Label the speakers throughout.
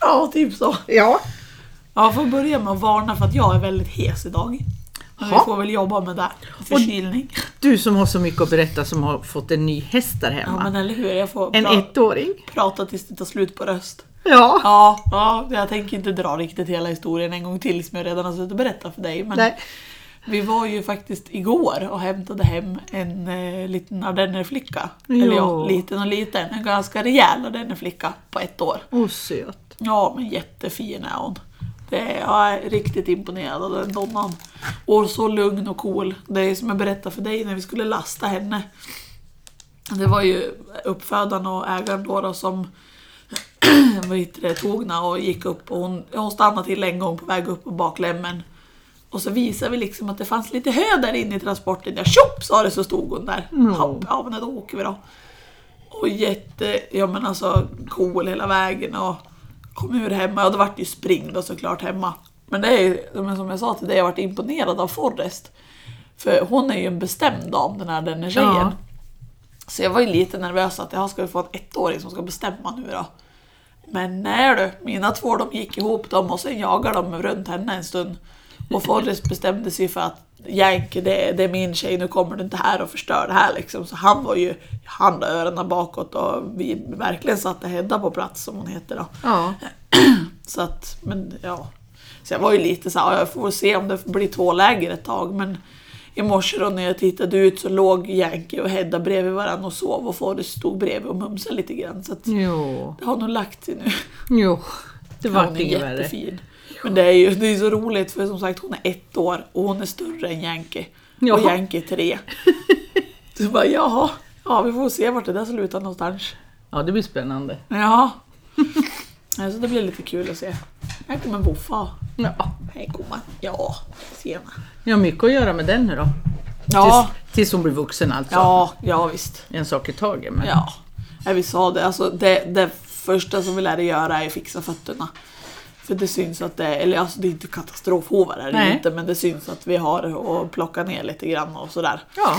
Speaker 1: Ja, typ så.
Speaker 2: Ja.
Speaker 1: Jag får börja med att varna för att jag är väldigt hes idag. Men vi
Speaker 2: Ja.
Speaker 1: får väl jobba med det. Förkylning.
Speaker 2: Du som har så mycket att berätta som har fått en ny häst där
Speaker 1: Ja
Speaker 2: hemma.
Speaker 1: men eller hur, jag får
Speaker 2: en
Speaker 1: pra-
Speaker 2: ettåring.
Speaker 1: prata tills det tar slut på röst.
Speaker 2: Ja.
Speaker 1: Ja, ja, jag tänker inte dra riktigt hela historien en gång till som jag redan har suttit och berättat för dig. Men
Speaker 2: Nej.
Speaker 1: vi var ju faktiskt igår och hämtade hem en eh, liten ardennerflicka.
Speaker 2: Ja.
Speaker 1: Eller ja, liten och liten. En ganska rejäl ardennerflicka på ett år.
Speaker 2: Åh söt.
Speaker 1: Ja, men jättefin är hon. Det är, jag är riktigt imponerad av den donnan. Och så lugn och cool. Det är som jag berättade för dig när vi skulle lasta henne. Det var ju uppfödaren och ägaren då, då som vad heter det, tog henne och gick upp och hon, hon stannade till en gång på väg upp på baklämmen. Och så visade vi liksom att det fanns lite hö där inne i transporten. Ja, tjopp sa det så stod hon där.
Speaker 2: Mm.
Speaker 1: Hopp, ja men då åker vi då. Och jätte, ja men alltså cool hela vägen och kom ur hemma. Ja det vart ju spring då såklart hemma. Men det är ju, men som jag sa till dig, jag varit imponerad av Forrest. För hon är ju en bestämd dam den här den här tjejen.
Speaker 2: Ja.
Speaker 1: Så jag var ju lite nervös att jag ska vi få en ettåring som ska bestämma nu då. Men nej du, mina två de gick ihop dem och sen jagade de runt henne en stund. Och Forrest bestämde sig för att Jänke det, det är min tjej, nu kommer du inte här och förstör det här liksom. Så han var ju, han la öronen bakåt och vi verkligen satte Hedda på plats som hon heter då.
Speaker 2: Ja.
Speaker 1: Så att, men ja. Så jag var ju lite så här, jag får se om det blir två läger ett tag. Men i morse då när jag tittade ut så låg Yankee och Hedda bredvid varandra och sov och Forrest stod bredvid och mumsade lite grann. Så att
Speaker 2: Jo.
Speaker 1: det har nog lagt sig nu.
Speaker 2: Jo. Det
Speaker 1: Hon
Speaker 2: vart
Speaker 1: är
Speaker 2: inget värre.
Speaker 1: jättefin. Men det är ju det är så roligt för som sagt hon är ett år och hon är större än Yankee. Och
Speaker 2: Jaha.
Speaker 1: Yankee är tre. Så bara jaha, ja vi får se vart det där slutar någonstans.
Speaker 2: Ja, det blir spännande.
Speaker 1: Ja. Så det blir lite kul att se. Här kommer Woffa.
Speaker 2: Ja.
Speaker 1: Hej gumman. Ja, tjena.
Speaker 2: Jag har mycket att göra med den nu då.
Speaker 1: Ja,
Speaker 2: Tills, tills hon blir vuxen alltså.
Speaker 1: ja, ja visst.
Speaker 2: En sak i taget. Men...
Speaker 1: Ja. ja, vi sa det. Alltså, det. Det första som vi lärde göra är att fixa fötterna. För det syns att det, eller alltså det är inte katastrofhovar är det ju
Speaker 2: Nej.
Speaker 1: inte, men det syns att vi har att plocka ner lite grann och sådär.
Speaker 2: ja.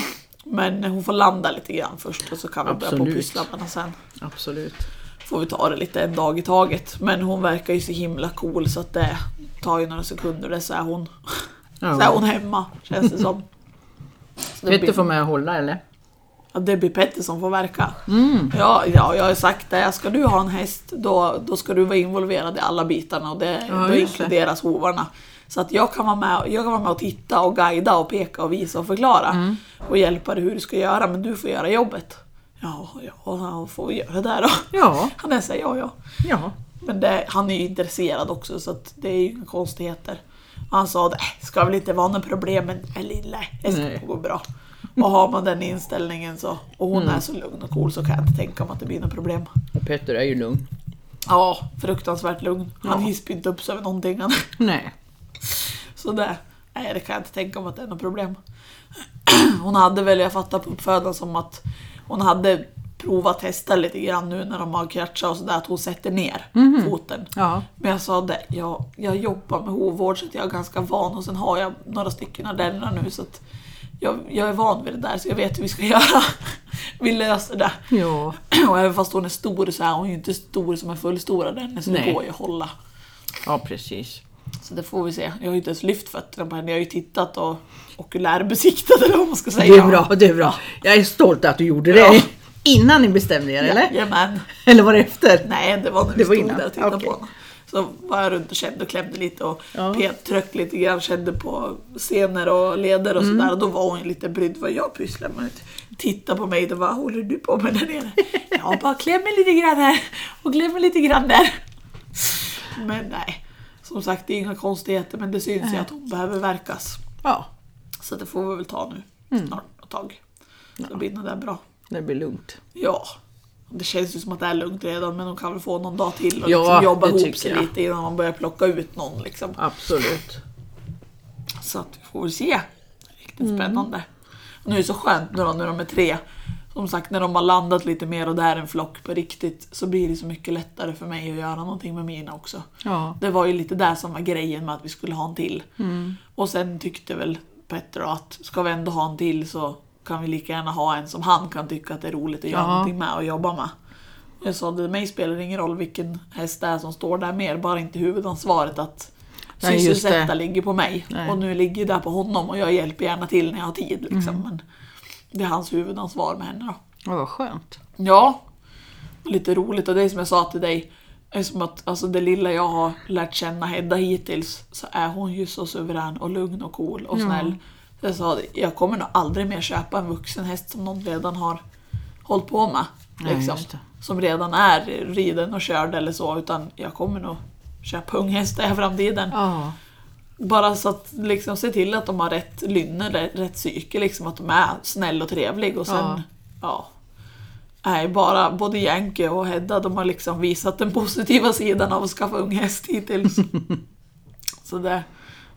Speaker 1: Men hon får landa lite grann först och så kan vi börja på
Speaker 2: Absolut.
Speaker 1: pysslapparna sen.
Speaker 2: Absolut.
Speaker 1: Får vi ta det lite en dag i taget. Men hon verkar ju så himla cool så att det tar ju några sekunder, det så är hon.
Speaker 2: Ja.
Speaker 1: Så är hon hemma, känns det som. Så det blir-
Speaker 2: Petter får med och hålla eller?
Speaker 1: Ja, det blir Petter som får verka.
Speaker 2: Mm.
Speaker 1: Ja, ja, jag har sagt det, ska du ha en häst då, då ska du vara involverad i alla bitarna och det,
Speaker 2: Ja,
Speaker 1: då
Speaker 2: just det.
Speaker 1: inkluderas hovarna. Så att jag kan, vara med, jag kan vara med och titta och guida och peka och visa och förklara.
Speaker 2: Mm.
Speaker 1: Och hjälpa dig hur du ska göra, men du får göra jobbet. Ja, ja, ja, får vi göra det där då?
Speaker 2: Ja.
Speaker 1: Han är såhär, ja, ja.
Speaker 2: Ja.
Speaker 1: Men det, han är ju intresserad också så att det är ju inga konstigheter. Han sa det ska väl inte vara något problem men det lilla, det ska
Speaker 2: Nej.
Speaker 1: gå bra. Och har man den inställningen så, och hon är så lugn och cool så kan jag inte tänka mig att det blir något problem.
Speaker 2: Och Petter är ju lugn.
Speaker 1: Ja, fruktansvärt lugn. Han
Speaker 2: Ja.
Speaker 1: hispar inte upp sig över någonting.
Speaker 2: Nej.
Speaker 1: Så det, nej det kan jag inte tänka mig att det är något problem. Hon hade väl, jag fattar på uppfödaren som att hon hade provat testa lite grann nu när de har kratschat och sådär att hon sätter ner
Speaker 2: Mhm.
Speaker 1: foten.
Speaker 2: Ja.
Speaker 1: Men jag sa det, jag, jag jobbar med hovvård så att jag är ganska van och sen har jag några stycken ardenner nu så att jag, jag är van vid det där så jag vet hur vi ska göra. Vi löser det.
Speaker 2: Ja.
Speaker 1: Och även fast hon är stor så är hon ju inte stor som en fullstor ardenner så det
Speaker 2: Nej.
Speaker 1: går ju att hålla.
Speaker 2: Ja, precis.
Speaker 1: Så det får vi se. Jag har ju inte ens lyft fötterna på henne, jag har ju tittat och okulärbesiktat eller vad man ska säga.
Speaker 2: Det är bra, det är bra. Jag är stolt att du gjorde det.
Speaker 1: Ja.
Speaker 2: Innan ni bestämde er eller?
Speaker 1: Jajamän.
Speaker 2: Eller var det efter?
Speaker 1: Nej, det var när vi
Speaker 2: Det var
Speaker 1: stod
Speaker 2: innan.
Speaker 1: där och tittade
Speaker 2: Okej.
Speaker 1: på honom. Så var jag runt och kände och klämde lite och
Speaker 2: Ja.
Speaker 1: pet, tryckte lite grann, kände på senor och leder och
Speaker 2: Mm.
Speaker 1: sådär. Och då var hon ju lite brydd vad jag pysslar med. Titta på mig och vad håller du på med där nere? Jag bara klämmer lite grann här och klämmer lite grann där. Men nej, som sagt det är inga konstigheter men det syns ju att hon behöver verkas.
Speaker 2: Ja,
Speaker 1: Så det får vi väl ta nu
Speaker 2: Mm.
Speaker 1: snart ett tag. Så blir det där bra.
Speaker 2: det blir lugnt.
Speaker 1: Ja. Det känns ju som att det är lugnt redan men de kan väl få någon dag till och
Speaker 2: Ja,
Speaker 1: liksom jobba
Speaker 2: det
Speaker 1: ihop
Speaker 2: tycker
Speaker 1: sig
Speaker 2: jag.
Speaker 1: lite innan man börjar plocka ut någon. Liksom.
Speaker 2: Absolut.
Speaker 1: Så att vi får väl se. Riktigt spännande. Och nu är det så skönt nu då, när de är tre. Som sagt, när de har landat lite mer och det är en flock på riktigt så blir det så mycket lättare för mig att göra någonting med mina också.
Speaker 2: Ja. Mm.
Speaker 1: Det var ju lite där som var grejen med att vi skulle ha en till. Och sen tyckte väl Petter att ska vi ändå ha en till så kan vi lika gärna ha en som han kan tycka att det är roligt att göra
Speaker 2: Ja.
Speaker 1: någonting med och jobba med. Och jag sa, det mig spelar det ingen roll vilken häst det är som står där mer, bara inte huvudansvaret att
Speaker 2: Nej, just det.
Speaker 1: sysselsätta ligger på mig.
Speaker 2: Nej.
Speaker 1: Och nu ligger det på honom och jag hjälper gärna till när jag har tid. Liksom.
Speaker 2: Mm.
Speaker 1: Men det är hans huvudansvar med henne då.
Speaker 2: Ja, vad skönt.
Speaker 1: Ja, lite roligt. Och det är som jag sa till dig, är som att alltså, det lilla jag har lärt känna Hedda hittills så är hon ju så suverän och lugn och cool och snäll. Så jag sa det, jag kommer nog aldrig mer köpa en vuxen häst som någon redan har hållit på med.
Speaker 2: Nej,
Speaker 1: Liksom,
Speaker 2: just det.
Speaker 1: som redan är riden och körd eller så, utan jag kommer nog köpa unghästar i framtiden.
Speaker 2: Ja.
Speaker 1: Bara så att liksom, se till att de har rätt lynne, rä- rätt psyke, liksom, att de är snäll och trevlig. Och sen,
Speaker 2: Ja.
Speaker 1: ja. Nej, bara både Yankee och Hedda de har liksom visat den positiva sidan av att skaffa ung häst hittills. så det,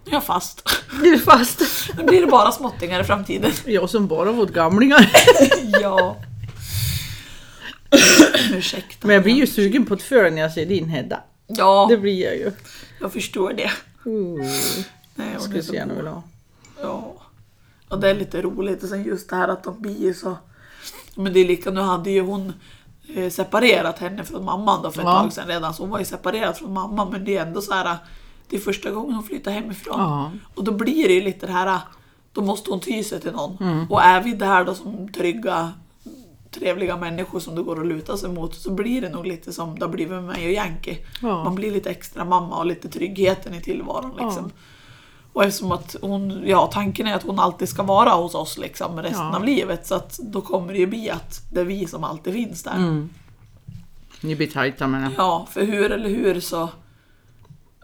Speaker 1: nu är jag fast.
Speaker 2: Du är fast.
Speaker 1: Nu blir det bara småttingar i framtiden.
Speaker 2: Jag som bara fått gamlingar.
Speaker 1: ja. Ursäkta.
Speaker 2: Men jag blir ju sugen på ett föl när jag ser din Hedda.
Speaker 1: Ja,
Speaker 2: Det blir jag ju.
Speaker 1: jag förstår det.
Speaker 2: Uh,
Speaker 1: Nej, hon är
Speaker 2: jag skulle
Speaker 1: så
Speaker 2: så gärna
Speaker 1: god.
Speaker 2: vilja ha.
Speaker 1: Ja. Och det är lite roligt. Och sen just det här att de blir så... Men det är lika, nu hade ju hon eh, separerat henne från mamman då för ett
Speaker 2: Ja.
Speaker 1: tag sedan redan. Så hon var ju separerad från mamman men det är ändå så här... Det är första gången hon flyttar hemifrån.
Speaker 2: Ja.
Speaker 1: Och då blir det ju lite det här... Då måste hon ty sig till någon.
Speaker 2: Mm.
Speaker 1: Och är vi där då som trygga, trevliga människor som det går att luta sig mot så blir det nog lite som det har blivit med mig och Yankee.
Speaker 2: Ja.
Speaker 1: Man blir lite extra mamma och lite tryggheten i tillvaron liksom. Och eftersom att hon, ja tanken är att hon alltid ska vara hos oss liksom resten
Speaker 2: Ja.
Speaker 1: av livet så att då kommer det ju bli att det är vi som alltid finns där.
Speaker 2: Mm. Ni blir tajta menar jag.
Speaker 1: Ja, för hur eller hur så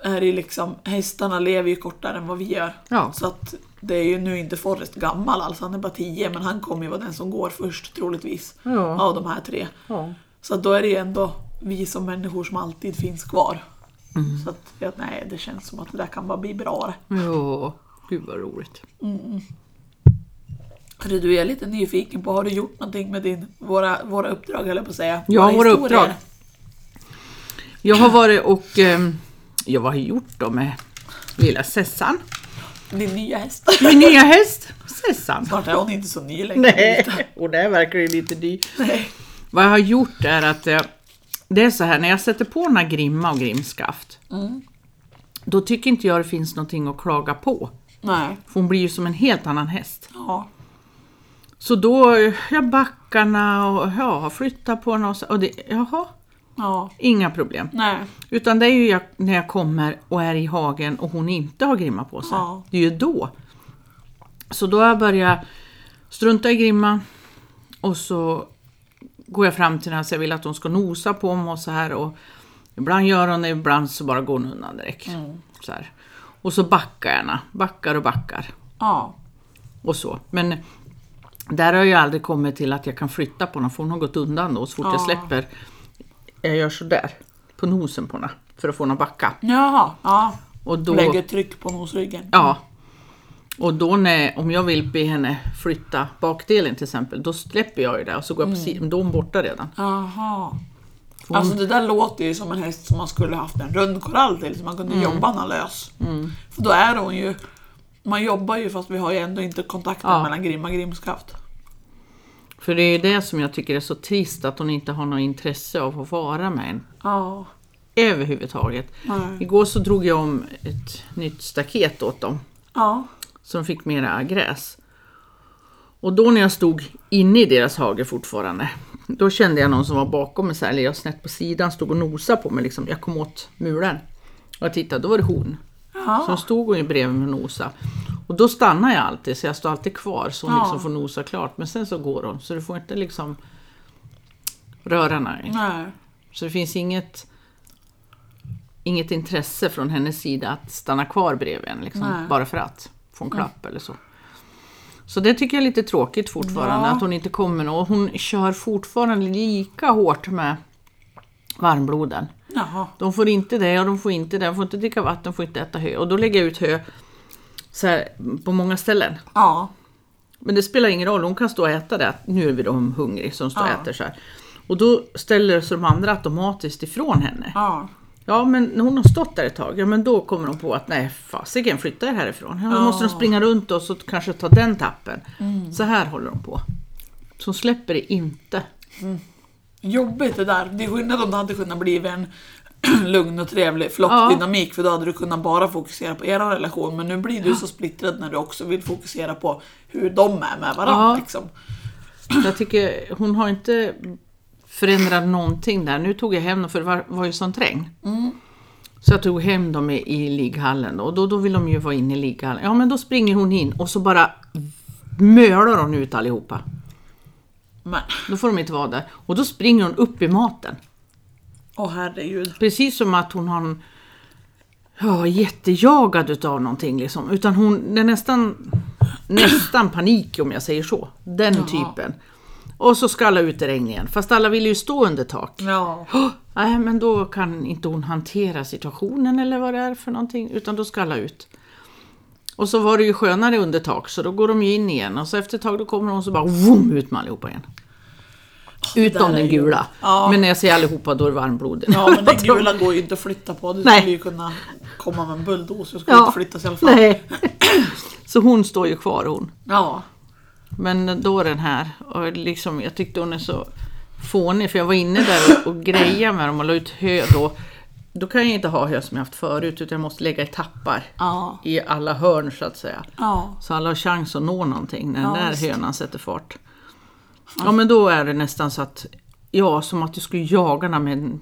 Speaker 1: är det ju liksom, hästarna lever ju kortare än vad vi gör.
Speaker 2: Ja.
Speaker 1: Så att det är ju nu inte Forrest gammal alls, han är bara 10 men han kommer ju vara den som går först troligtvis.
Speaker 2: Ja.
Speaker 1: Av de här tre.
Speaker 2: Ja.
Speaker 1: Så att då är det ju ändå vi som människor som alltid finns kvar.
Speaker 2: Mm.
Speaker 1: Så att, ja, nej, det känns som att det där kan bara bli bra det.
Speaker 2: Ja, gud vad roligt.
Speaker 1: Hörru, du, jag är lite nyfiken på, har du gjort någonting med din, våra, våra uppdrag höll jag på att säga?
Speaker 2: Ja, våra
Speaker 1: historier?
Speaker 2: uppdrag. Jag har varit och... ehm, Ja, vad har jag gjort då med lilla Sessan?
Speaker 1: Din nya häst.
Speaker 2: Min nya häst, Sessan.
Speaker 1: Snart är hon inte så ny längre.
Speaker 2: Nej, och det är verkligen lite dyrt.
Speaker 1: Nej.
Speaker 2: Vad jag har gjort är att jag, det är så här, när jag sätter på den här grimma och grimskaft, då tycker inte jag det finns någonting att klaga på.
Speaker 1: Nej.
Speaker 2: För hon blir ju som en helt annan häst.
Speaker 1: Ja.
Speaker 2: Så då, eh, jag backarna och ja, har flyttat på henne och, så, och det, jaha,
Speaker 1: Ja.
Speaker 2: inga problem.
Speaker 1: Nej.
Speaker 2: Utan det är ju jag, när jag kommer och är i hagen och hon inte har grimma på sig.
Speaker 1: Ja.
Speaker 2: Det är ju då. Så då har jag börjat strunta i grimma och så går jag fram till henne så jag vill att hon ska nosa på mig och så här. Och ibland gör hon det, ibland så bara går hon undan direkt. Så här. Och så backar jag henne, backar och backar
Speaker 1: Ja.
Speaker 2: och så. Men där har jag aldrig kommit till att jag kan flytta på honom för hon har gått undan då. Så fort jag
Speaker 1: Ja.
Speaker 2: släpper, jag gör sådär på nosen på henne för att få henne att backa.
Speaker 1: Jaha. Ja.
Speaker 2: Och då,
Speaker 1: Lägger tryck på nosryggen.
Speaker 2: ja, och då när, om jag vill be henne flytta bakdelen till exempel, då släpper jag ju det och så går
Speaker 1: Mm.
Speaker 2: jag på sidan, då är hon borta redan.
Speaker 1: Jaha. Alltså det där låter ju som en häst som man skulle haft en rund korall till så man kunde
Speaker 2: Mm.
Speaker 1: jobba henne lös. För då är hon ju, man jobbar ju fast vi har ju ändå inte kontakten
Speaker 2: Ja.
Speaker 1: mellan grimma och grimskaft.
Speaker 2: För det är det som jag tycker är så trist, att hon inte har något intresse av att vara med en
Speaker 1: Ja.
Speaker 2: överhuvudtaget.
Speaker 1: Nej.
Speaker 2: Igår så drog jag om ett nytt staket åt dem.
Speaker 1: Ja.
Speaker 2: så de fick mera gräs. Och då när jag stod inne i deras hage fortfarande, då kände jag någon som var bakom mig, så här, eller jag snett på sidan, stod och nosade på mig. Liksom. Jag kom åt muren och jag tittade, då var det hon.
Speaker 1: Ja.
Speaker 2: Så stod hon ju bredvid mig och nosade. Och då stannar jag alltid, så jag står alltid kvar så hon
Speaker 1: Ja.
Speaker 2: liksom får nosa klart. Men sen så går hon, så du får inte liksom röra henne.
Speaker 1: Nej.
Speaker 2: Så det finns inget, inget intresse från hennes sida att stanna kvar bredvid en, liksom,
Speaker 1: Nej.
Speaker 2: bara för att få en klapp eller så. Så det tycker jag är lite tråkigt fortfarande,
Speaker 1: Ja.
Speaker 2: att hon inte kommer nå- och Hon kör fortfarande lika hårt med varmbloden.
Speaker 1: Jaha.
Speaker 2: De får inte det och de får inte det, de får inte dricka vatten, de får inte äta hö. Och då lägger jag ut hö så här, på många ställen.
Speaker 1: Ja.
Speaker 2: Men det spelar ingen roll, hon kan stå och äta det. Nu är vi de hungrig som står och
Speaker 1: Ja.
Speaker 2: äter så här. Och då ställer sig de andra automatiskt ifrån henne.
Speaker 1: Ja.
Speaker 2: Ja, men när hon har stått där ett tag, ja men då kommer de på att nej fasiken, flytta er härifrån. Ja, Då måste de springa runt och så kanske ta den tappen. Så här håller de på. Så hon släpper det inte.
Speaker 1: jobbigt det där. Det är skillnad om det hade kunnat bli en lugn och trevlig
Speaker 2: Ja.
Speaker 1: flockdynamik för då hade du kunnat bara fokusera på er relation men nu blir du så splittrad när du också vill fokusera på hur de är med varandra.
Speaker 2: Ja.
Speaker 1: Liksom.
Speaker 2: Jag tycker hon har inte förändrat någonting där. Nu tog jag hem dem för det var, var ju sån träng. Så jag tog hem dem i, i ligghallen då, och då, då vill de ju vara inne i ligghallen. Ja men då springer hon in och så bara mölar hon ut allihopa.
Speaker 1: Men
Speaker 2: Då får de inte vara där. Och då springer hon upp i maten.
Speaker 1: åh herregud.
Speaker 2: Precis som att hon har en, ja, jättejagad utav någonting liksom. Utan hon, det är nästan, nästan panik om jag säger så. Den typen. Och så ska alla ut i regn igen. Fast alla vill ju stå under tak.
Speaker 1: Ja.
Speaker 2: Åh, Nej men då kan inte hon hantera situationen eller vad det är för någonting. Utan då ska alla ut. Och så var det ju skönare under tak så då går de ju in igen. Och så efter ett tag då kommer hon så bara vroom, ut med allihopa igen. Utom
Speaker 1: där är
Speaker 2: den
Speaker 1: ju-
Speaker 2: gula.
Speaker 1: Ja.
Speaker 2: Men när jag säger allihopa då är det varmblodig.
Speaker 1: Ja men den gula går ju inte att flytta på. Du
Speaker 2: Nej.
Speaker 1: skulle ju kunna komma med en bulldozer och skulle inte flyttas i alla fall.
Speaker 2: Nej. Så hon står ju kvar hon.
Speaker 1: Ja.
Speaker 2: Men då den här, och liksom, jag tyckte hon är så fånig för jag var inne där och, och grejade med dem och la ut hö då. Då kan jag inte ha hö som jag haft förut utan jag måste lägga i tappar
Speaker 1: Ja.
Speaker 2: i alla hörn så att säga.
Speaker 1: Ja.
Speaker 2: Så alla har chans att nå någonting när den
Speaker 1: Ja,
Speaker 2: där
Speaker 1: visst.
Speaker 2: hönan sätter fart. Ja men då är det nästan så att, ja som att du skulle jaga den med en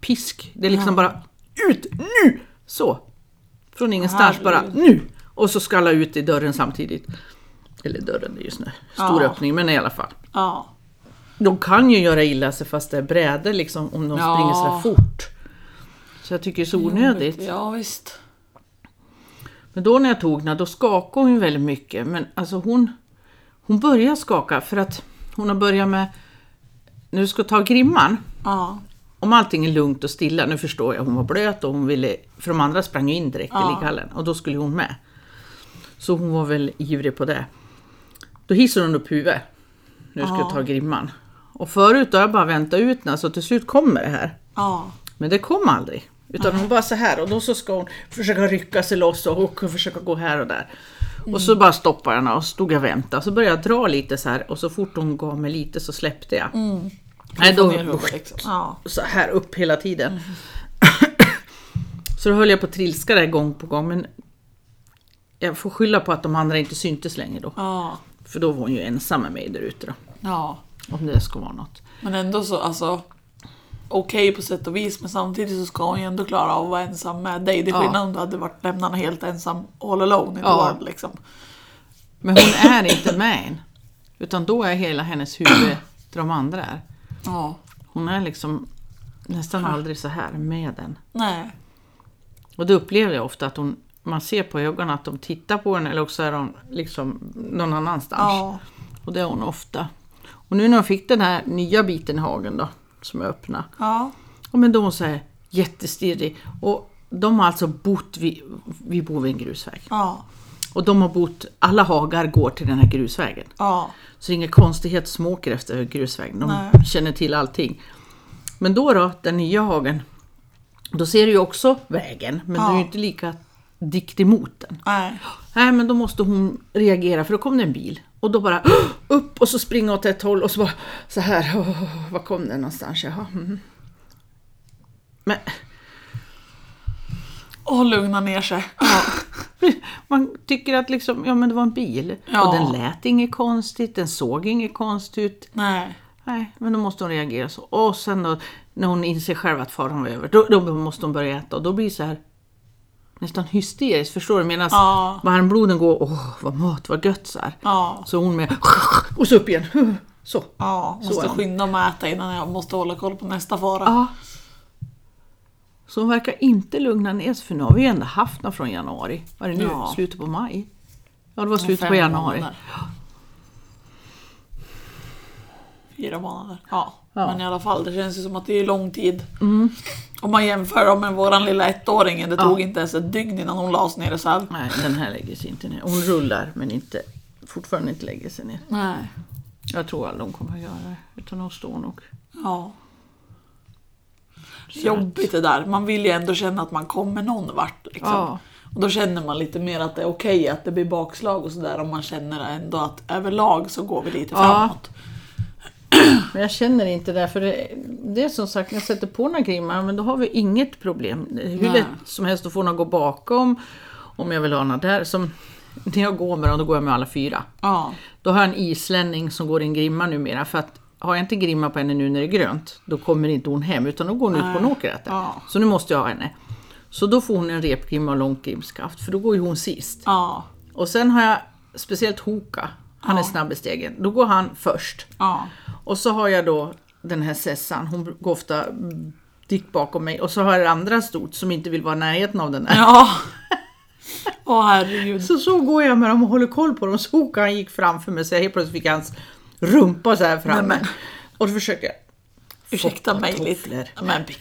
Speaker 2: pisk. Det är liksom bara ut nu! Så! Från ingenstans bara nu! Och så ska alla ut i dörren samtidigt. Eller dörren, det är ju snö. Stor
Speaker 1: Ja.
Speaker 2: öppning men i alla fall.
Speaker 1: Ja.
Speaker 2: De kan ju göra illa sig fast det är brädor liksom om de
Speaker 1: Ja.
Speaker 2: springer sådär fort. Så jag tycker det är så onödigt.
Speaker 1: Ja visst.
Speaker 2: Men då när jag tog henne, då skakade hon ju väldigt mycket. Men alltså hon, hon börjar skaka för att hon har börjat med, när du ska ta grimman,
Speaker 1: Ja.
Speaker 2: om allting är lugnt och stilla, nu förstår jag, hon var blöt och hon ville, för de andra sprang ju in direkt
Speaker 1: Ja.
Speaker 2: i ligghallen och då skulle hon med. Så hon var väl ivrig på det. Då hissar hon upp huvudet. Nu ska jag ta grimman. Och förut då har jag bara väntat ut när så till slut kommer det här.
Speaker 1: Ja.
Speaker 2: Men det kom aldrig. Utan hon bara så här och då så ska hon försöka rycka sig loss och, och försöka gå här och där. Och så bara stoppade jag henne och stod jag och väntade. Så började jag dra lite så här och så fort hon gav mig lite så släppte jag. Nej,
Speaker 1: Få
Speaker 2: då,
Speaker 1: ner huvudet, liksom. Ja.
Speaker 2: så här upp hela tiden. så då höll jag på att trilska där gång på gång. Men jag får skylla på att de andra inte syntes längre då.
Speaker 1: Ja.
Speaker 2: För då var hon ju ensam med mig där ute då.
Speaker 1: Ja.
Speaker 2: Om det ska vara något.
Speaker 1: Men ändå så, alltså. Okej på sätt och vis men samtidigt så ska hon ju ändå klara av att vara ensam med dig. Det är
Speaker 2: Ja.
Speaker 1: skillnad om du hade varit lämnad helt ensam all alone i the
Speaker 2: Ja.
Speaker 1: world liksom.
Speaker 2: Men hon är inte med än. Utan då är hela hennes huvud där de andra är.
Speaker 1: Ja.
Speaker 2: Hon är liksom nästan aldrig så här med den.
Speaker 1: Nej.
Speaker 2: Och det upplever jag ofta att hon, man ser på ögonen att de tittar på den eller också är de liksom någon annanstans.
Speaker 1: Ja.
Speaker 2: Och det är hon ofta. Och nu när hon fick den här nya biten i hagen då, som är öppna.
Speaker 1: Ja.
Speaker 2: Och men då är hon så här jättestirrig. Och de har alltså bott vid, vi bor vid en grusväg.
Speaker 1: Ja.
Speaker 2: Och de har bott, alla hagar går till den här grusvägen.
Speaker 1: Ja.
Speaker 2: Så det är inga konstigheter som åker efter grusvägen. De
Speaker 1: Nej.
Speaker 2: känner till allting. Men då då, den nya hagen. Då ser du ju också vägen, men du är
Speaker 1: Ja.
Speaker 2: ju inte lika dikt emot den.
Speaker 1: Nej.
Speaker 2: Nej, men då måste hon reagera för då kom det en bil. Och då bara "Åh!" upp och så springa åt ett håll och så bara så här. "Åh, Var kom den någonstans? Jaha. mhm." Men
Speaker 1: Och lugna ner sig. Ja.
Speaker 2: man tycker att liksom, ja men det var en bil.
Speaker 1: Ja.
Speaker 2: Och den lät inget konstigt, den såg inget konstigt ut.
Speaker 1: Nej.
Speaker 2: Nej, men då måste hon reagera så. Och sen då, när hon inser själv att faran var över, då, då måste hon börja äta. Och då blir det så här nästan hysteriskt, förstår du? Medan
Speaker 1: Ja.
Speaker 2: varmbloden går, åh vad mat, vad gött så här.
Speaker 1: Ja.
Speaker 2: Så hon med, och så upp igen. Så.
Speaker 1: Ja.
Speaker 2: Så
Speaker 1: Måste
Speaker 2: är hon.
Speaker 1: skynda mig att äta innan jag måste hålla koll på nästa fara.
Speaker 2: Ja. Så hon verkar inte lugna ner sig, för nu har vi ju ändå haft några från januari. Var det nu?
Speaker 1: Ja.
Speaker 2: Slutet på maj? Ja, det var
Speaker 1: Om
Speaker 2: slutet på
Speaker 1: fem
Speaker 2: januari.
Speaker 1: månader. Fyra månader. Ja.
Speaker 2: Ja. Mm.
Speaker 1: men i alla fall. Det känns ju som att det är lång tid. Om man jämför dem med våran lilla ettåring. Det tog inte ens ett dygn innan hon lades ner i sall.
Speaker 2: Nej, den här lägger sig inte ner. Hon rullar, men inte, fortfarande inte lägger sig ner.
Speaker 1: Nej.
Speaker 2: Jag tror aldrig de kommer att göra det. Utan de står nog.
Speaker 1: Ja. Jobbigt det där. Man vill ju ändå känna att man kommer någon vart. Liksom.
Speaker 2: Ja.
Speaker 1: Och då känner man lite mer att det är okej att det blir bakslag och sådär. Om man känner ändå att överlag så går vi lite
Speaker 2: Ja.
Speaker 1: framåt.
Speaker 2: Men jag känner inte det, för det, det är som sagt, när jag sätter på den här grimman, men då har vi inget problem. Hur
Speaker 1: Nej.
Speaker 2: lätt som helst, då får någon gå bakom om jag vill ha någon där. Som, när jag går med dem, då går jag med alla fyra.
Speaker 1: Ja.
Speaker 2: Då har jag en islänning som går i en grimma numera, för att har jag inte grimma på henne nu när det är grönt, då kommer inte hon hem, utan då går hon ut på en åker och äter.
Speaker 1: Ja.
Speaker 2: Så nu måste jag ha henne. Så då får hon en repgrimma och långt grimskaft, för då går ju hon sist.
Speaker 1: Ja.
Speaker 2: Och sen har jag speciellt Hoka, han är snabb i stegen. Då går han först.
Speaker 1: Ja.
Speaker 2: Och så har jag då den här Sessan, hon går ofta dikt bakom mig. Och så har jag det andra stort som inte vill vara i närheten av den där.
Speaker 1: Ja. Åh herregud.
Speaker 2: Så så går jag med dem och håller koll på dem. Så Hoka han gick framför mig så jag helt plötsligt fick hans rumpa så här framme.
Speaker 1: Nej, men.
Speaker 2: Och då försöker jag.
Speaker 1: Ursäkta mig
Speaker 2: Foppatofflor.
Speaker 1: lite. Men Birgitta.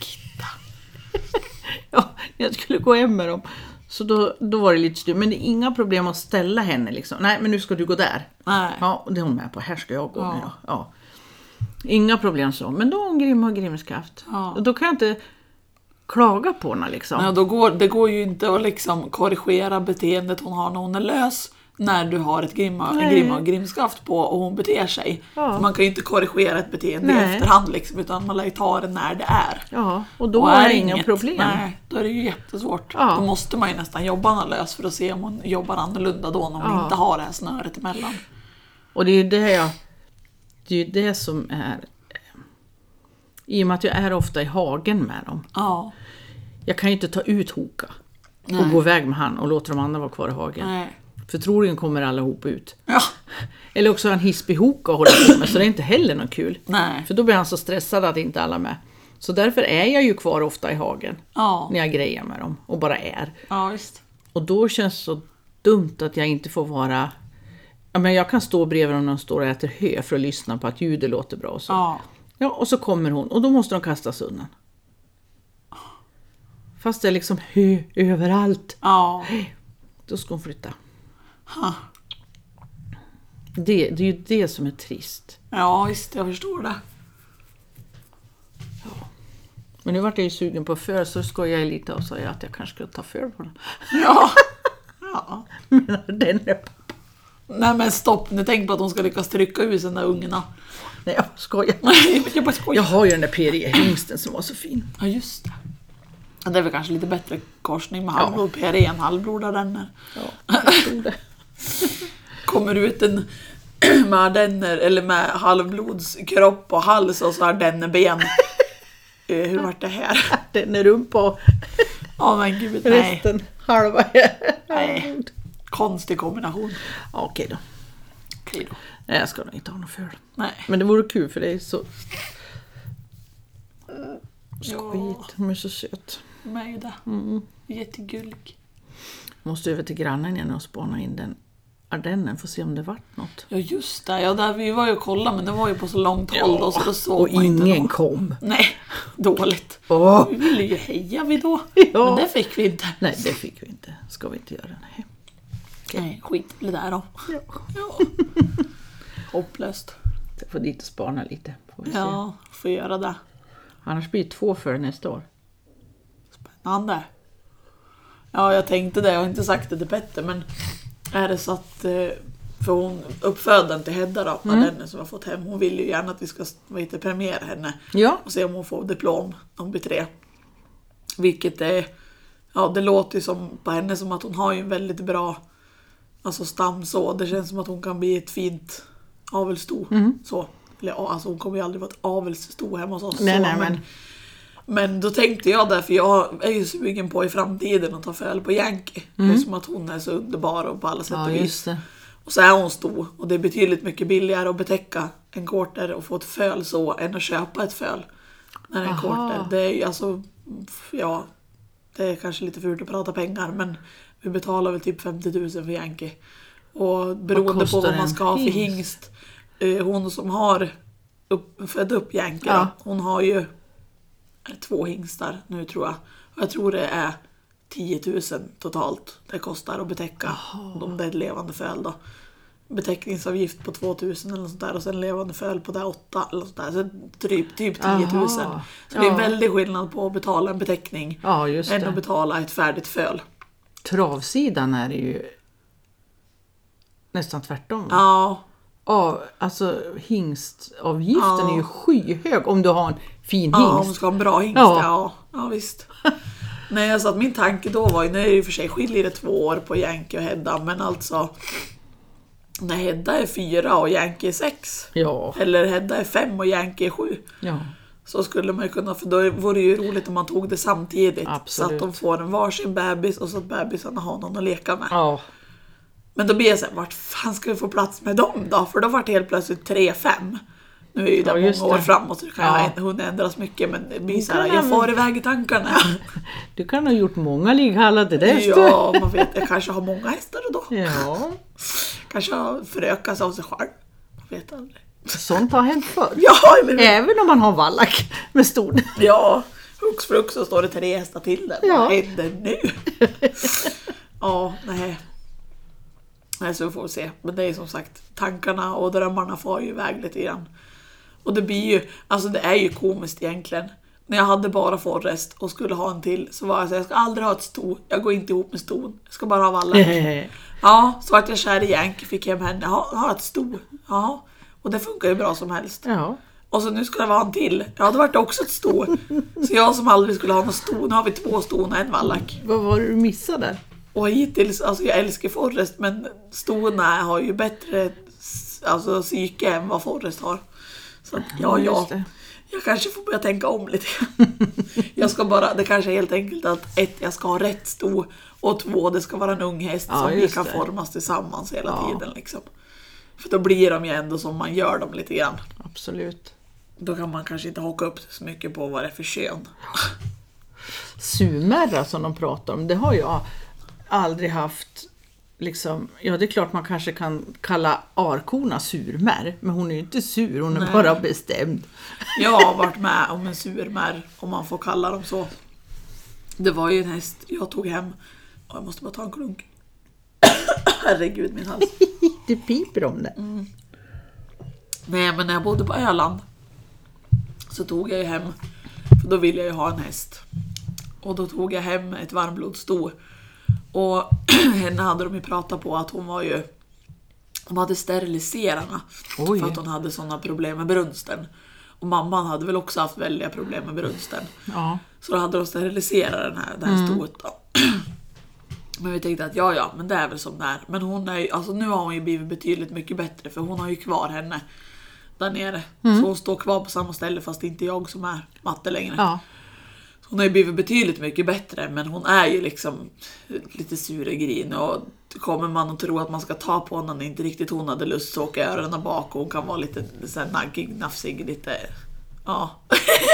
Speaker 2: Ja, jag skulle gå hem med dem. Så då, då var det lite styr. Men det är inga problem att ställa henne liksom. Nej, men nu ska du gå där.
Speaker 1: Nej.
Speaker 2: Ja, och det är hon med på. Här ska jag gå
Speaker 1: Ja.
Speaker 2: nu då. Ja. Inga problem så. Men då har hon grym och grimskaft.
Speaker 1: Ja.
Speaker 2: Och då kan jag inte klaga på henne liksom.
Speaker 1: Ja, då går, det går ju inte att liksom korrigera beteendet hon har när hon är lös när du har ett grimma, en
Speaker 2: Nej.
Speaker 1: grimma och grimskaft på och hon beter sig.
Speaker 2: Ja.
Speaker 1: För man kan ju inte korrigera ett beteende
Speaker 2: Nej.
Speaker 1: i efterhand liksom, utan man lär ju ta det när det är.
Speaker 2: Ja, och då
Speaker 1: Och
Speaker 2: har
Speaker 1: är
Speaker 2: jag
Speaker 1: det
Speaker 2: inga
Speaker 1: inget,
Speaker 2: problem.
Speaker 1: Nej, då är det ju jättesvårt.
Speaker 2: Ja.
Speaker 1: Då måste man ju nästan jobba henne lös för att se om hon jobbar annorlunda då när hon
Speaker 2: Ja.
Speaker 1: inte har det här snöret emellan.
Speaker 2: Och det är ju det jag... Det är ju det som är... I och med att jag är ofta i hagen med dem.
Speaker 1: Ja,
Speaker 2: Jag kan ju inte ta ut Hoka och
Speaker 1: Nej.
Speaker 2: gå iväg med han och låta de andra vara kvar i hagen.
Speaker 1: nej.
Speaker 2: För troligen kommer allihop ut.
Speaker 1: Ja,
Speaker 2: Eller också har han hispig Hoka att hålla på med, så det är inte heller något kul.
Speaker 1: nej.
Speaker 2: För då blir han så stressad att inte alla är med. Så därför är jag ju kvar ofta i hagen
Speaker 1: Ja,
Speaker 2: när jag grejer med dem och bara är.
Speaker 1: ja visst.
Speaker 2: Och då känns det så dumt att jag inte får vara... Ja, men jag kan stå bredvid dem när de står och äter hö för att lyssna på att ljudet låter bra och så.
Speaker 1: Ja.
Speaker 2: Ja, och så kommer hon och då måste de kastas undan. Fast det är liksom hö överallt.
Speaker 1: Ja.
Speaker 2: Då ska hon flytta.
Speaker 1: Ha.
Speaker 2: Det, det är ju det som är trist.
Speaker 1: ja, visst. Jag förstår det.
Speaker 2: Men nu vart jag ju sugen på föl så skojade jag lite och sa att jag kanske skulle ta föl på den.
Speaker 1: Ja. ja.
Speaker 2: Menar den är pappa.
Speaker 1: Nej men stopp nu, tänk på att hon ska lyckas trycka ur sina ungarna.
Speaker 2: Nej, jag skojar.
Speaker 1: jag bara skojar.
Speaker 2: Jag har ju den där PRE-hingsten som var så fin.
Speaker 1: Ja just det. Ja, Det är väl kanske lite bättre korsning med halvblod. Per är en halvblod av denner.
Speaker 2: Ja, jag tror det.
Speaker 1: Kommer ut en med ardenner, eller med halvblodskropp och hals och så ardennerben. Eh, Hur vart det här?
Speaker 2: Den är rumpa och
Speaker 1: Ja men gud, nej.
Speaker 2: resten halva är
Speaker 1: Nej. Konstig kombination.
Speaker 2: Ja, Okej då.
Speaker 1: Okej då.
Speaker 2: Nej, jag ska nog inte ha någon föl.
Speaker 1: Nej.
Speaker 2: Men det vore kul för det är så
Speaker 1: Ja,
Speaker 2: skit. Mm. Hon är så söt.
Speaker 1: de är ju det. Jättegullig.
Speaker 2: Måste över till grannen igen och spana in den ardennen för att se om det vart något.
Speaker 1: Ja just det, ja, där, vi var ju och kollade men det var ju på så långt håll då så då såg
Speaker 2: Och
Speaker 1: man inte
Speaker 2: ingen
Speaker 1: något.
Speaker 2: kom.
Speaker 1: Nej, dåligt.
Speaker 2: Åh!
Speaker 1: Vi ville ju heja vi då,
Speaker 2: Ja.
Speaker 1: men det fick vi inte.
Speaker 2: Nej, det fick vi inte. Ska vi inte göra. Nej.
Speaker 1: Nej, skit i det där då. Ja. Hopplöst.
Speaker 2: Jag får dit och spana lite. Får vi se.
Speaker 1: Ja, får göra det.
Speaker 2: Annars blir det två föl nästa år.
Speaker 1: Spännande. Ja, jag tänkte det. Jag har inte sagt det till Petter, men är det så att... eh, För hon, uppfödaren till Hedda då, mm. som har fått hem, hon vill ju gärna att vi ska vad heter, det, premiera henne.
Speaker 2: Ja.
Speaker 1: och se om hon får diplom när hon blir tre. Vilket är, ja det låter ju som på henne som att hon har ju en väldigt bra alltså stam så. Det känns som att hon kan bli ett fint avelssto.
Speaker 2: Mm.
Speaker 1: Så. Eller, ja, alltså hon kommer ju aldrig vara ett avelssto hemma hos oss.
Speaker 2: Nej,
Speaker 1: så,
Speaker 2: nej, men-
Speaker 1: men då tänkte jag där, för jag är ju sugen på i framtiden att ta föl på Yankee. Det är som att hon är så underbar och på alla sätt
Speaker 2: Mm. Ja,
Speaker 1: och vis.
Speaker 2: just det.
Speaker 1: Och så är hon stor och det är betydligt mycket billigare att betäcka en quarter och få ett föl så än att köpa ett föl. När det är en
Speaker 2: Aha.
Speaker 1: quarter. Det är ju alltså, f- ja, det är kanske lite fult att prata pengar men vi betalar väl typ 50 000 för Yankee. Och beroende på
Speaker 2: kostar
Speaker 1: vad man
Speaker 2: en
Speaker 1: ska ha för
Speaker 2: hingst?
Speaker 1: hingst, eh, hon som har upp, fött upp Yankee,
Speaker 2: Ja.
Speaker 1: då, hon har ju två hingstar nu tror jag. Och jag tror det är 10 000 totalt det kostar att betäcka. Om det är ett levande föl då. Betäckningsavgift på 2 000 eller något sånt där och sen levande föl på det 8 eller något sånt där. Så typ, typ 10 000.
Speaker 2: Aha.
Speaker 1: Så det är
Speaker 2: Ja.
Speaker 1: en väldig skillnad på att betala en betäckning
Speaker 2: Ja, just
Speaker 1: än att
Speaker 2: det. Mm.
Speaker 1: betala ett färdigt föl.
Speaker 2: Travsidan är det ju nästan tvärtom. va?
Speaker 1: Ja,
Speaker 2: av, alltså, hingstavgiften
Speaker 1: Ja.
Speaker 2: är ju skyhög om du har en fin
Speaker 1: Ja, om du
Speaker 2: hingst.
Speaker 1: ska ha en bra hingst.
Speaker 2: Ja.
Speaker 1: Ja. Ja, visst. Nej, alltså att min tanke då var ju, nu är det ju för sig skiljer det två år på Yankee och Hedda, men alltså när Hedda är fyra och Yankee är sex,
Speaker 2: Ja,
Speaker 1: eller Hedda är fem och Yankee är sju,
Speaker 2: ja,
Speaker 1: så skulle man ju kunna, för då vore det ju roligt om man tog det samtidigt. Så
Speaker 2: Absolut.
Speaker 1: att de får en varsin bebis och så att bebisarna har någon att leka med.
Speaker 2: ja,
Speaker 1: Men då blir jag såhär, vart fan ska vi få plats med dem då? För då vart det helt plötsligt 3-5. Nu är ju det
Speaker 2: Ja, just
Speaker 1: många år
Speaker 2: det.
Speaker 1: framåt så det kan
Speaker 2: Ja.
Speaker 1: ja. hon ändras mycket men det blir såhär,
Speaker 2: kan
Speaker 1: jag
Speaker 2: även-
Speaker 1: far iväg i tankarna.
Speaker 2: du kan ha gjort många ligghallar till dess du.
Speaker 1: ja, man vet, jag kanske har många hästar då.
Speaker 2: ja,
Speaker 1: Kanske har förökat sig av sig själv. Man vet aldrig.
Speaker 2: sånt har hänt förr.
Speaker 1: Ja, eller hur?
Speaker 2: Även om man har vallack med stor.
Speaker 1: Ja, hux flux så står det tre hästar till där.
Speaker 2: Ja.
Speaker 1: Vad händer nu? ja, nej. Nej, så får vi se. Men det är som sagt, tankarna och drömmarna far ju iväg lite grann. Och det blir ju, alltså det är ju komiskt egentligen. När jag hade bara Forrest och skulle ha en till så var jag så här, jag ska aldrig ha ett sto, jag går inte ihop med ston. Jag ska bara ha vallen. Ja, så vart jag kär i Yankee, fick hem henne. Ja, jag har ett sto. Ja, och det funkar ju bra som helst.
Speaker 2: ja,
Speaker 1: Och så nu ska det vara en till. Ja, då vart det också ett sto. Så jag som aldrig skulle ha någon sto, nu har vi två ston och en vallack.
Speaker 2: vad var det du missade?
Speaker 1: Och hittills, alltså jag älskar Forrest men stona har ju bättre s- alltså, psyke än vad Forrest har. Så att, ja,
Speaker 2: Ja,
Speaker 1: ja.
Speaker 2: just det.
Speaker 1: Jag kanske får börja tänka om lite grann. Jag ska bara, det kanske är helt enkelt att ett, jag ska ha rätt sto och två, det ska vara en ung häst
Speaker 2: Ja,
Speaker 1: som vi
Speaker 2: just
Speaker 1: kan
Speaker 2: det.
Speaker 1: formas tillsammans hela
Speaker 2: Ja.
Speaker 1: tiden. Liksom. För då blir de ju ändå som man gör dem lite grann.
Speaker 2: Absolut.
Speaker 1: Då kan man kanske inte haka upp sig så mycket på vad det är för kön.
Speaker 2: Sumera som de pratar om, det har jag aldrig haft. Liksom, ja, det är klart man kanske kan kalla arkorna surmär, men hon är ju inte sur, hon är
Speaker 1: Nej.
Speaker 2: bara bestämd.
Speaker 1: Jag har varit med om en surmärr, om man får kalla dem så. Det var ju en häst jag tog hem. Och jag måste bara ta en klunk. Herregud min hals.
Speaker 2: Det piper om det.
Speaker 1: Nej men när jag bodde på Öland så tog jag ju hem, för då ville jag ju ha en häst. Och då tog jag hem ett varmblodssto. Och henne hade de ju pratat på att hon var ju, de hade steriliserarna.
Speaker 2: Oj.
Speaker 1: För att hon hade sådana problem med brunsten. Och mamman hade väl också haft väldiga problem med brunsten.
Speaker 2: Ja.
Speaker 1: Så då hade de steriliserat den här, det här stoet då. Men vi tänkte att ja, ja, men det är väl som det är. Men hon är ju, alltså nu har hon ju blivit betydligt mycket bättre för hon har ju kvar henne där nere. Så hon står kvar på samma ställe fast det är inte jag som är matte längre.
Speaker 2: Ja.
Speaker 1: Så hon har ju blivit betydligt mycket bättre men hon är ju liksom lite sur och grin och kommer man att tro att man ska ta på honom när inte riktigt hon hade lust så åker öronen bak och hon kan vara lite så här naggig, nafsig, lite... Ja.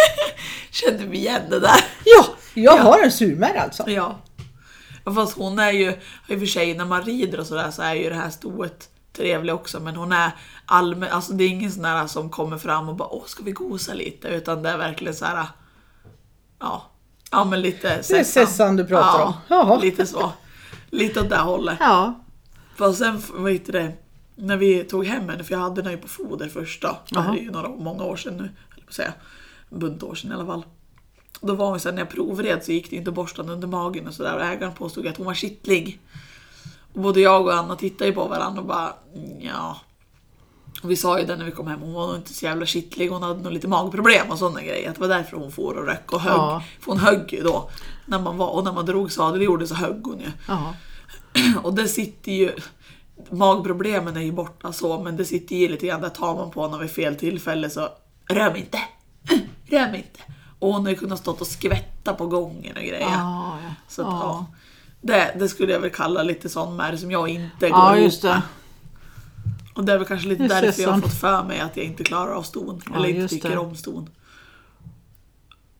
Speaker 1: Kände vi igen det där?
Speaker 2: ja, jag har en surmär alltså.
Speaker 1: Ja. Ja, Fast hon är ju, i och för sig när man rider och sådär så är ju det här stoet trevlig också men hon är allmän, alltså det är ingen sån där som kommer fram och bara åh ska vi gosa lite utan det är verkligen så här. ja, ja men lite
Speaker 2: är Sessan du pratar
Speaker 1: ja,
Speaker 2: om. Jaha.
Speaker 1: lite så. Lite åt det hållet.
Speaker 2: Ja.
Speaker 1: Fast sen, vad heter det, när vi tog hem henne, för jag hade den ju på foder först då. Det här
Speaker 2: Jaha.
Speaker 1: är ju några, många år sedan nu, höll jag på att säga. En bunt år sedan i alla fall. Då var hon så här, när jag provred så gick det inte borstande under magen och sådär och ägaren påstod att hon var kittlig. Och både jag och Anna tittade ju på varandra och bara "Mm, ja. Och vi sa ju det när vi kom hem, hon var nog inte så jävla kittlig, hon hade nog lite magproblem och sådana grejer. Att det var därför hon for och röck och högg.
Speaker 2: Ja.
Speaker 1: För hon högg ju då. När man var, och när man drog sadel i jorden så högg hon ju.
Speaker 2: Ja.
Speaker 1: Och det sitter ju... Magproblemen är ju borta så, men det sitter ju lite grann där tar man på honom vid fel tillfälle så rör mig inte! Rör mig inte! Och hon har ju kunnat stått och skvätta på gången och grejer.
Speaker 2: Ja, ja.
Speaker 1: Så att, ja. Det, det skulle jag väl kalla lite sån märr som jag inte går
Speaker 2: ja,
Speaker 1: ihop
Speaker 2: just det.
Speaker 1: Och det är väl kanske lite
Speaker 2: Just det,
Speaker 1: därför jag har
Speaker 2: sån.
Speaker 1: fått för mig att jag inte klarar av ston.
Speaker 2: Ja,
Speaker 1: eller inte
Speaker 2: just
Speaker 1: tycker
Speaker 2: det.
Speaker 1: om ston.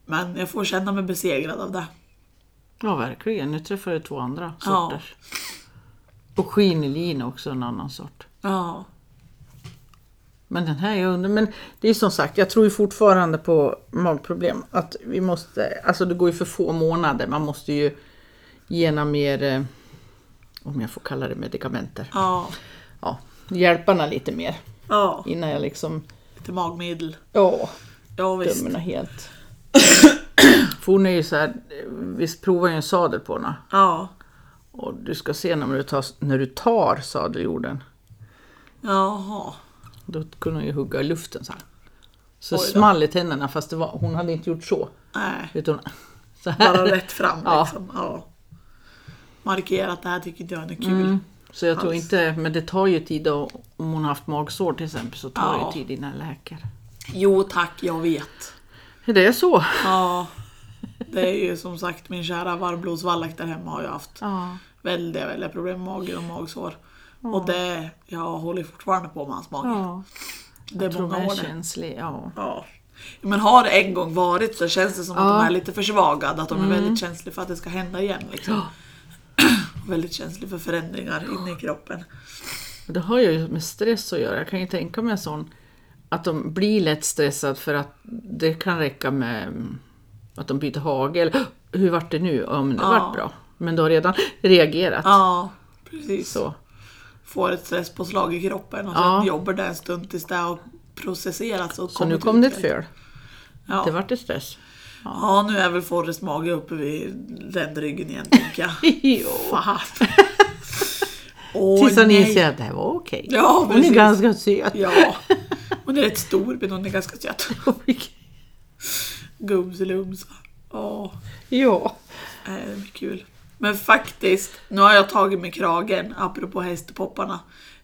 Speaker 1: Men jag får känna mig besegrad av det.
Speaker 2: Ja, verkligen. Nu träffar du två andra
Speaker 1: Ja.
Speaker 2: sorter. Och skinelin också en annan sort.
Speaker 1: Ja.
Speaker 2: Men den här är under. Men det är som sagt, jag tror ju fortfarande på magproblem. Att vi måste, alltså det går ju för få månader. Man måste ju gena mer, eh, om jag får kalla det medikamenter.
Speaker 1: Ja.
Speaker 2: Ja, hjälparna lite mer.
Speaker 1: Ja.
Speaker 2: Innan jag liksom,
Speaker 1: Lite magmedel.
Speaker 2: ja,
Speaker 1: Ja visst.
Speaker 2: dömerna helt. För hon är ju så här, eh, vi provar ju en sadel på henne.
Speaker 1: Ja.
Speaker 2: Och du ska se när du tar, när du tar sadeljorden.
Speaker 1: Jaha.
Speaker 2: Då kunde hon ju hugga i luften så här. Så
Speaker 1: Oj då.
Speaker 2: small i tänderna fast det var, hon hade inte gjort så.
Speaker 1: Nej,
Speaker 2: Utan så här.
Speaker 1: bara rätt fram
Speaker 2: Ja.
Speaker 1: liksom. Ja. Markera att det här tycker inte jag är kul.
Speaker 2: Mm. Så jag tror
Speaker 1: Alls.
Speaker 2: inte, men det tar ju tid och, om hon har haft magsår till exempel så tar det
Speaker 1: Ja.
Speaker 2: ju tid innan det läker.
Speaker 1: Jo tack, jag vet.
Speaker 2: Det är så.
Speaker 1: Ja. Det är ju som sagt min kära varmblodsvallack där hemma har jag haft
Speaker 2: Ja.
Speaker 1: väldiga, väldiga problem med magen och magsår. Och det, jag håller fortfarande på med hans mage.
Speaker 2: ja.
Speaker 1: det är
Speaker 2: Tror
Speaker 1: många
Speaker 2: jag
Speaker 1: år
Speaker 2: är
Speaker 1: det.
Speaker 2: känslig. Ja.
Speaker 1: Ja. Men har det en gång varit så känns det som att
Speaker 2: Ja. Mm.
Speaker 1: de är lite försvagade, att de är väldigt känsliga för att det ska hända igen. Liksom. väldigt känsliga för förändringar inne i kroppen.
Speaker 2: Men Det har ju med stress att göra. Jag kan ju tänka mig en sån att de blir lätt stressade för att det kan räcka med mm, att de byter hagel. Hur vart det nu? Om det
Speaker 1: Ja.
Speaker 2: vart bra. Men du har redan reagerat.
Speaker 1: Ja, precis.
Speaker 2: Så.
Speaker 1: Får ett stresspåslag i kroppen och
Speaker 2: Ja.
Speaker 1: sen jobbar det en stund tills det har processerats. Och
Speaker 2: Så nu kom det ett
Speaker 1: fel.
Speaker 2: föl.
Speaker 1: Ja.
Speaker 2: Det vart det stress.
Speaker 1: ja, nu är väl Forrest mage uppe vid ländryggen igen tänker jag.
Speaker 2: Jo.
Speaker 1: Fan. Åh,
Speaker 2: Tills han
Speaker 1: nej.
Speaker 2: inser att det här var okej.
Speaker 1: Ja,
Speaker 2: Hon är
Speaker 1: precis.
Speaker 2: ganska söt.
Speaker 1: Ja. Hon är rätt stor men hon är ganska söt. Gumselumsa. Åh.
Speaker 2: ja.
Speaker 1: Eh, kul. Men faktiskt, nu har jag tagit mig kragen apropå hästpopparna.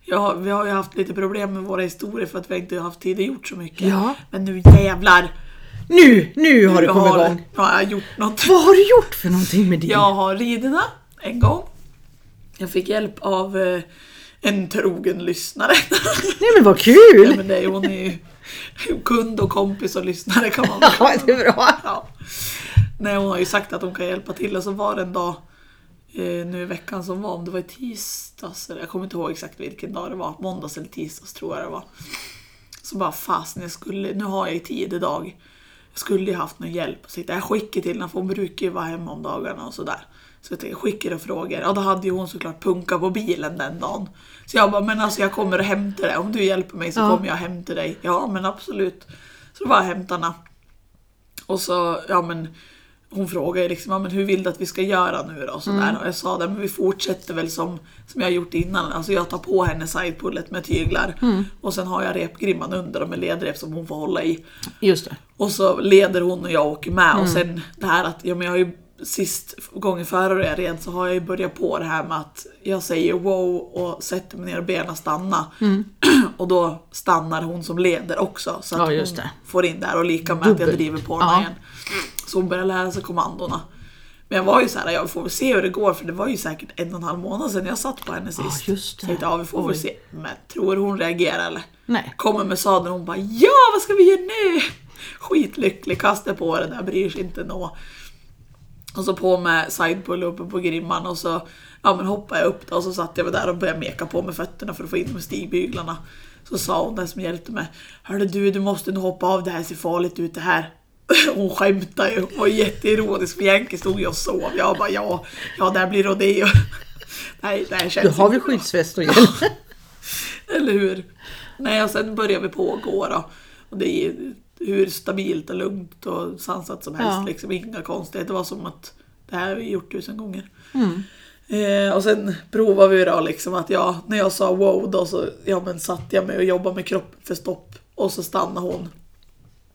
Speaker 1: Jag, har- vi har ju haft lite problem med våra historier för att vi inte har haft tid att gjort så mycket.
Speaker 2: Ja.
Speaker 1: Men nu jävlar!
Speaker 2: Nu, nu har du
Speaker 1: jag
Speaker 2: kommit igång.
Speaker 1: Nu har jag gjort något.
Speaker 2: Vad har du gjort för någonting med din?
Speaker 1: Jag har ridorna en gång. Jag fick hjälp av eh, en trogen lyssnare.
Speaker 2: Nej men vad
Speaker 1: ja,
Speaker 2: kul!
Speaker 1: men det, är- hon är ju kund och kompis och lyssnare kan man väl
Speaker 2: Ja, det är bra.
Speaker 1: Ja. Nej, hon har ju sagt att hon kan hjälpa till och så var det en dag eh, nu i veckan som var, om det var i tisdags, eller jag kommer inte ihåg exakt vilken dag det var, måndags eller tisdags tror jag det var. Så bara fasen, jag skulle, nu har jag ju tid idag. Jag skulle ju haft någon hjälp. Så tänkte jag, jag skickar till henne, för hon brukar ju vara hemma om dagarna och sådär. Så jag tänkte, jag skickar och frågar. Ja, då hade ju hon såklart punka på bilen den dagen. Så jag bara, men alltså jag kommer och hämtar dig. Om du hjälper mig så
Speaker 2: Ja.
Speaker 1: kommer jag och hämtar dig. Ja, men absolut. Så bara hämtar henne. Och så, ja men hon frågade liksom, ja, men hur vill du att vi ska göra nu då? Och, sådär. och jag sa det, men vi fortsätter väl som, som jag har gjort innan. Alltså jag tar på henne sidepullet med tyglar och sen har jag repgrimman under och med ledrep som hon får hålla i.
Speaker 2: Just det.
Speaker 1: Och så leder hon och jag åker med
Speaker 2: Mm.
Speaker 1: och sen det här att, ja men jag har ju sist gången före jag red så har jag ju börjat på det här med att jag säger wow och sätter mig ner och benen stanna.
Speaker 2: Mm.
Speaker 1: Och då stannar hon som leder också så att
Speaker 2: Ja, just
Speaker 1: hon
Speaker 2: det.
Speaker 1: får in där och lika med att jag
Speaker 2: Dubbelt.
Speaker 1: driver på henne
Speaker 2: Ja.
Speaker 1: igen. Så hon börjar lära sig kommandona. Men jag var ju så här, jag får väl se hur det går för det var ju säkert en och en halv månad sedan jag satt på henne sist.
Speaker 2: just
Speaker 1: Så
Speaker 2: det.
Speaker 1: jag tänkte, ja vi får väl
Speaker 2: Oj.
Speaker 1: se. Men tror hon reagerar eller?
Speaker 2: Nej.
Speaker 1: Kommer med sadeln och hon bara ja vad ska vi göra nu? Skitlycklig, kastar på den där, bryr sig inte nå. Och så på med sidepull uppe på grimman och så ja, men hoppade jag upp då, och så satt jag väl där och började meka på med fötterna för att få in med stigbyglarna. Så sa hon den som hjälpte mig Hörru du, du måste nu hoppa av, det här ser farligt ut det här. Hon skämtade ju, hon var jätteironisk för Yankee stod ju och sov. Jag bara ja, ja där blir rodeo. Nej, det här känns
Speaker 2: Du har
Speaker 1: inte
Speaker 2: vi
Speaker 1: bra.
Speaker 2: skyddsväst och hjälm.
Speaker 1: Eller hur? Nej, och sen börjar vi pågå då. Och det är hur stabilt och lugnt och sansat som helst.
Speaker 2: Ja.
Speaker 1: Liksom, inga konstigheter. Det var som att det här har vi gjort tusen gånger. Eh, och sen provar vi då liksom att jag, när jag sa wow då så ja, men satt jag mig och jobbade med kroppen för stopp. Och så stannade hon.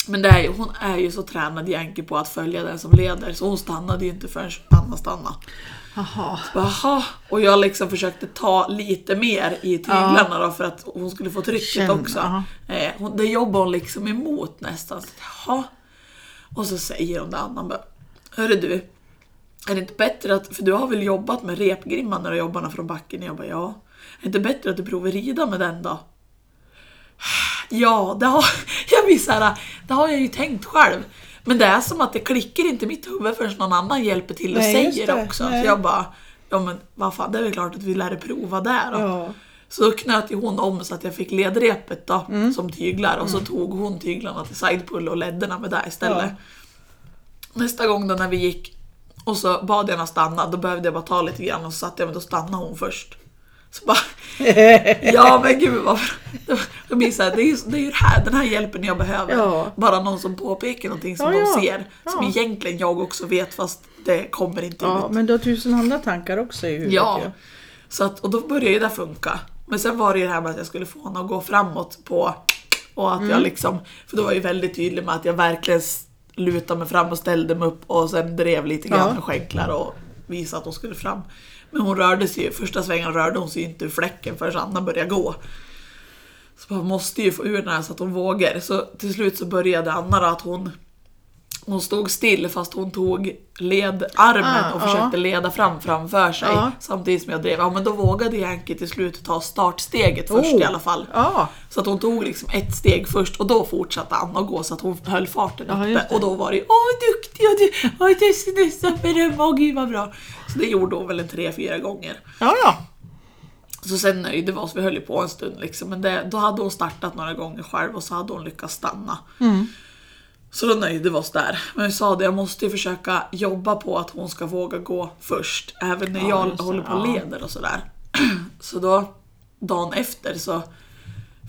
Speaker 1: Men det är ju, hon är ju så tränad Yankee på att följa den som leder så hon stannade ju inte förrän Anna stannade.
Speaker 2: Jaha.
Speaker 1: Jaha, och jag liksom försökte ta lite mer i tyglarna då för att hon skulle få trycket
Speaker 2: Känna,
Speaker 1: också. Eh, hon, det jobbar hon liksom emot nästan. Så, Jaha. Och så säger hon det annan bara, Hörru du, är det inte bättre att, för du har väl jobbat med repgrimman när du jobbarna från backen? Jag bara ja. Är det inte bättre att du provar rida med den då? Ja, det har, jag blir så här, det har jag ju tänkt själv. Men det är som att det klickar inte i mitt huvud förrän någon annan hjälper till och
Speaker 2: Nej, just
Speaker 1: säger
Speaker 2: det.
Speaker 1: också.
Speaker 2: Nej.
Speaker 1: Så jag bara, ja men vad fan, det är väl klart att vi lär prova där då.
Speaker 2: Ja.
Speaker 1: Så då knöt ju hon om så att jag fick ledrepet då,
Speaker 2: Mm.
Speaker 1: som tyglar och så tog hon tyglarna till sidepull och ledderna med det istället. Nästa gång då när vi gick och så bad jag henne stanna, då behövde jag bara ta lite grann och så satte jag men då stannade hon först. Så bara, ja men gud vad bra. Det blir så här, det är ju det är ju det här, den här hjälpen jag behöver.
Speaker 2: Ja.
Speaker 1: Bara någon som påpekar någonting som
Speaker 2: Ja, ja.
Speaker 1: de ser. Som
Speaker 2: Ja.
Speaker 1: egentligen jag också vet fast det kommer inte ut.
Speaker 2: Ja, men du har tusen andra tankar också i huvudet
Speaker 1: Ja.
Speaker 2: ju.
Speaker 1: Så att, och då började ju det funka. Men sen var det ju det här med att jag skulle få honom att gå framåt på och att
Speaker 2: Mm.
Speaker 1: jag liksom, för då var jag ju väldigt tydlig med att jag verkligen s- lutade mig fram och ställde mig upp och sen drev lite grann
Speaker 2: Ja.
Speaker 1: med skänklar och visade att hon skulle fram. Men hon rörde sig ju, första svängen rörde hon sig ju inte ur fläcken förrän Anna började gå. Så man måste ju få ur den här så att hon vågar. Så till slut så började Anna då att hon hon stod still fast hon tog ledarmen
Speaker 2: Ah,
Speaker 1: och
Speaker 2: ja.
Speaker 1: försökte leda fram framför sig
Speaker 2: Ja.
Speaker 1: samtidigt som jag drev. Ja men då vågade Yankee till slut ta startsteget först
Speaker 2: Oh.
Speaker 1: i alla fall.
Speaker 2: Ja.
Speaker 1: Så att hon tog liksom ett steg först och då fortsatte Anna att gå så att hon höll farten
Speaker 2: Ja, just
Speaker 1: uppe.
Speaker 2: det.
Speaker 1: Och då var det ju Åh vad duktig och du, oj du är så nästan beröm, åh gud vad bra. Så det gjorde hon väl en tre, fyra gånger.
Speaker 2: Ja, ja.
Speaker 1: Så sen nöjde vi oss, vi höll ju på en stund liksom. Men det, då hade hon startat några gånger själv och så hade hon lyckats stanna.
Speaker 2: Mm.
Speaker 1: Så då nöjde vi oss där. Men vi sa det, jag måste ju försöka jobba på att hon ska våga gå först. Även när
Speaker 2: Ja,
Speaker 1: jag
Speaker 2: just det,
Speaker 1: håller på och
Speaker 2: ja.
Speaker 1: leder och sådär. Så då, dagen efter så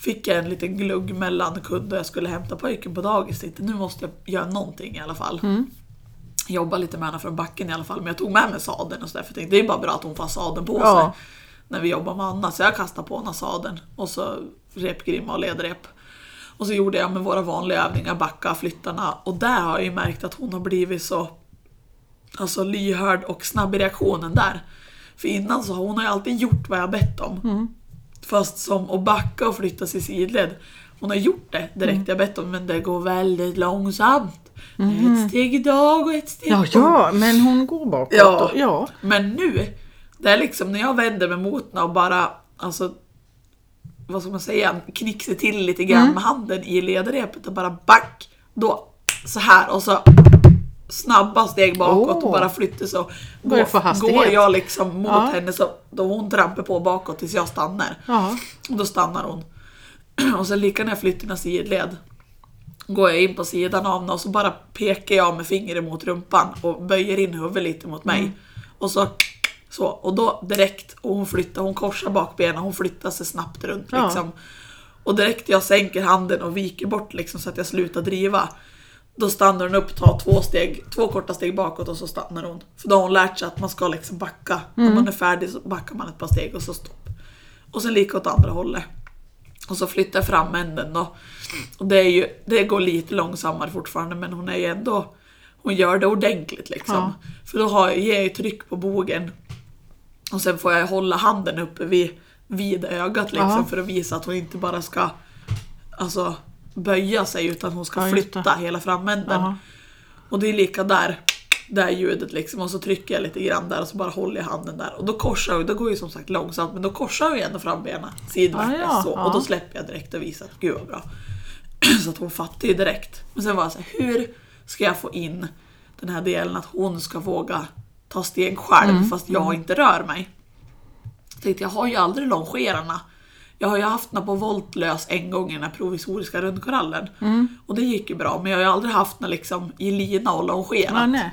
Speaker 1: fick jag en liten glugg mellan kudden och jag skulle hämta pojken på dagis. Tänkte, Nu måste jag göra någonting i alla fall.
Speaker 2: Mm.
Speaker 1: Jobba lite med henne från backen i alla fall. Men jag tog med mig sadeln och sådär för jag tänkte det är bara bra att hon får sadeln på
Speaker 2: Ja.
Speaker 1: sig. När vi jobbar med annat. Så jag kastade på henne sadeln och så repgrimma och ledrep. Och så gjorde jag med våra vanliga övningar, backa, flyttarna. Och där har jag ju märkt att hon har blivit så alltså, lyhörd och snabb i reaktionen där. För innan så har hon har ju alltid gjort vad jag bett om.
Speaker 2: Mm.
Speaker 1: Fast som att backa och flytta sig i sidled. Hon har gjort det
Speaker 2: Mm.
Speaker 1: direkt jag bett om men det går väldigt långsamt. Det är Ett steg idag och ett steg
Speaker 2: Mm. Ja, ja, men hon går bakåt.
Speaker 1: Ja.
Speaker 2: och- ja.
Speaker 1: Men nu, det är liksom när jag vänder mig mot henne och bara, alltså, vad ska man säga, knixar till lite grann
Speaker 2: Mm.
Speaker 1: med handen i ledrepet och bara back, då så här och så snabba steg bakåt och
Speaker 2: Åh.
Speaker 1: bara flyttar så
Speaker 2: Börjar få hastighet.
Speaker 1: går jag liksom mot
Speaker 2: Ja.
Speaker 1: henne så då hon trampar på bakåt tills jag stannar.
Speaker 2: Ja.
Speaker 1: Och då stannar hon. Och sen lika när jag flyttar mina sidled går jag in på sidan av henne och så bara pekar jag med fingret mot rumpan och böjer in huvudet lite mot mig. Och så så, och då direkt, och hon flyttar, hon korsar bakbenen, hon flyttar sig snabbt runt
Speaker 2: Ja.
Speaker 1: liksom. Och direkt jag sänker handen och viker bort liksom så att jag slutar driva. Då stannar hon upp, tar två steg, två korta steg bakåt och så stannar hon. För då har hon lärt sig att man ska liksom backa. När man är färdig så backar man ett par steg och så stopp. Och sen lika åt andra hållet. Och så flyttar jag fram änden då. Och det, är ju, det går lite långsammare fortfarande men hon är ju ändå Hon gör det ordentligt liksom.
Speaker 2: Ja.
Speaker 1: För då har, ger jag ju tryck på bogen. Och sen får jag hålla handen uppe vid, vid ögat liksom
Speaker 2: Ja.
Speaker 1: för att visa att hon inte bara ska alltså, böja sig utan hon ska
Speaker 2: Ja, just det.
Speaker 1: flytta hela framänden.
Speaker 2: Jaha.
Speaker 1: Och det är lika där, där ljudet liksom. Och så trycker jag lite grann där och så bara håller jag handen där. Och då korsar jag, det går ju som sagt långsamt, men då korsar jag ändå frambenen sidback
Speaker 2: Ah, ja,
Speaker 1: så.
Speaker 2: ja.
Speaker 1: Och då släpper jag direkt och visar att gud vad bra. Så att hon fattar ju direkt. Men sen var jag så här, hur ska jag få in den här delen att hon ska våga ta steg själv
Speaker 2: Mm.
Speaker 1: fast jag inte rör mig? Jag tänkte jag har ju aldrig longerarna. Jag har ju haft den på voltlös en gång i den här provisoriska rundkorallen.
Speaker 2: Mm.
Speaker 1: Och det gick ju bra, men jag har ju aldrig haft den liksom i lina och longerat.
Speaker 2: ja nej.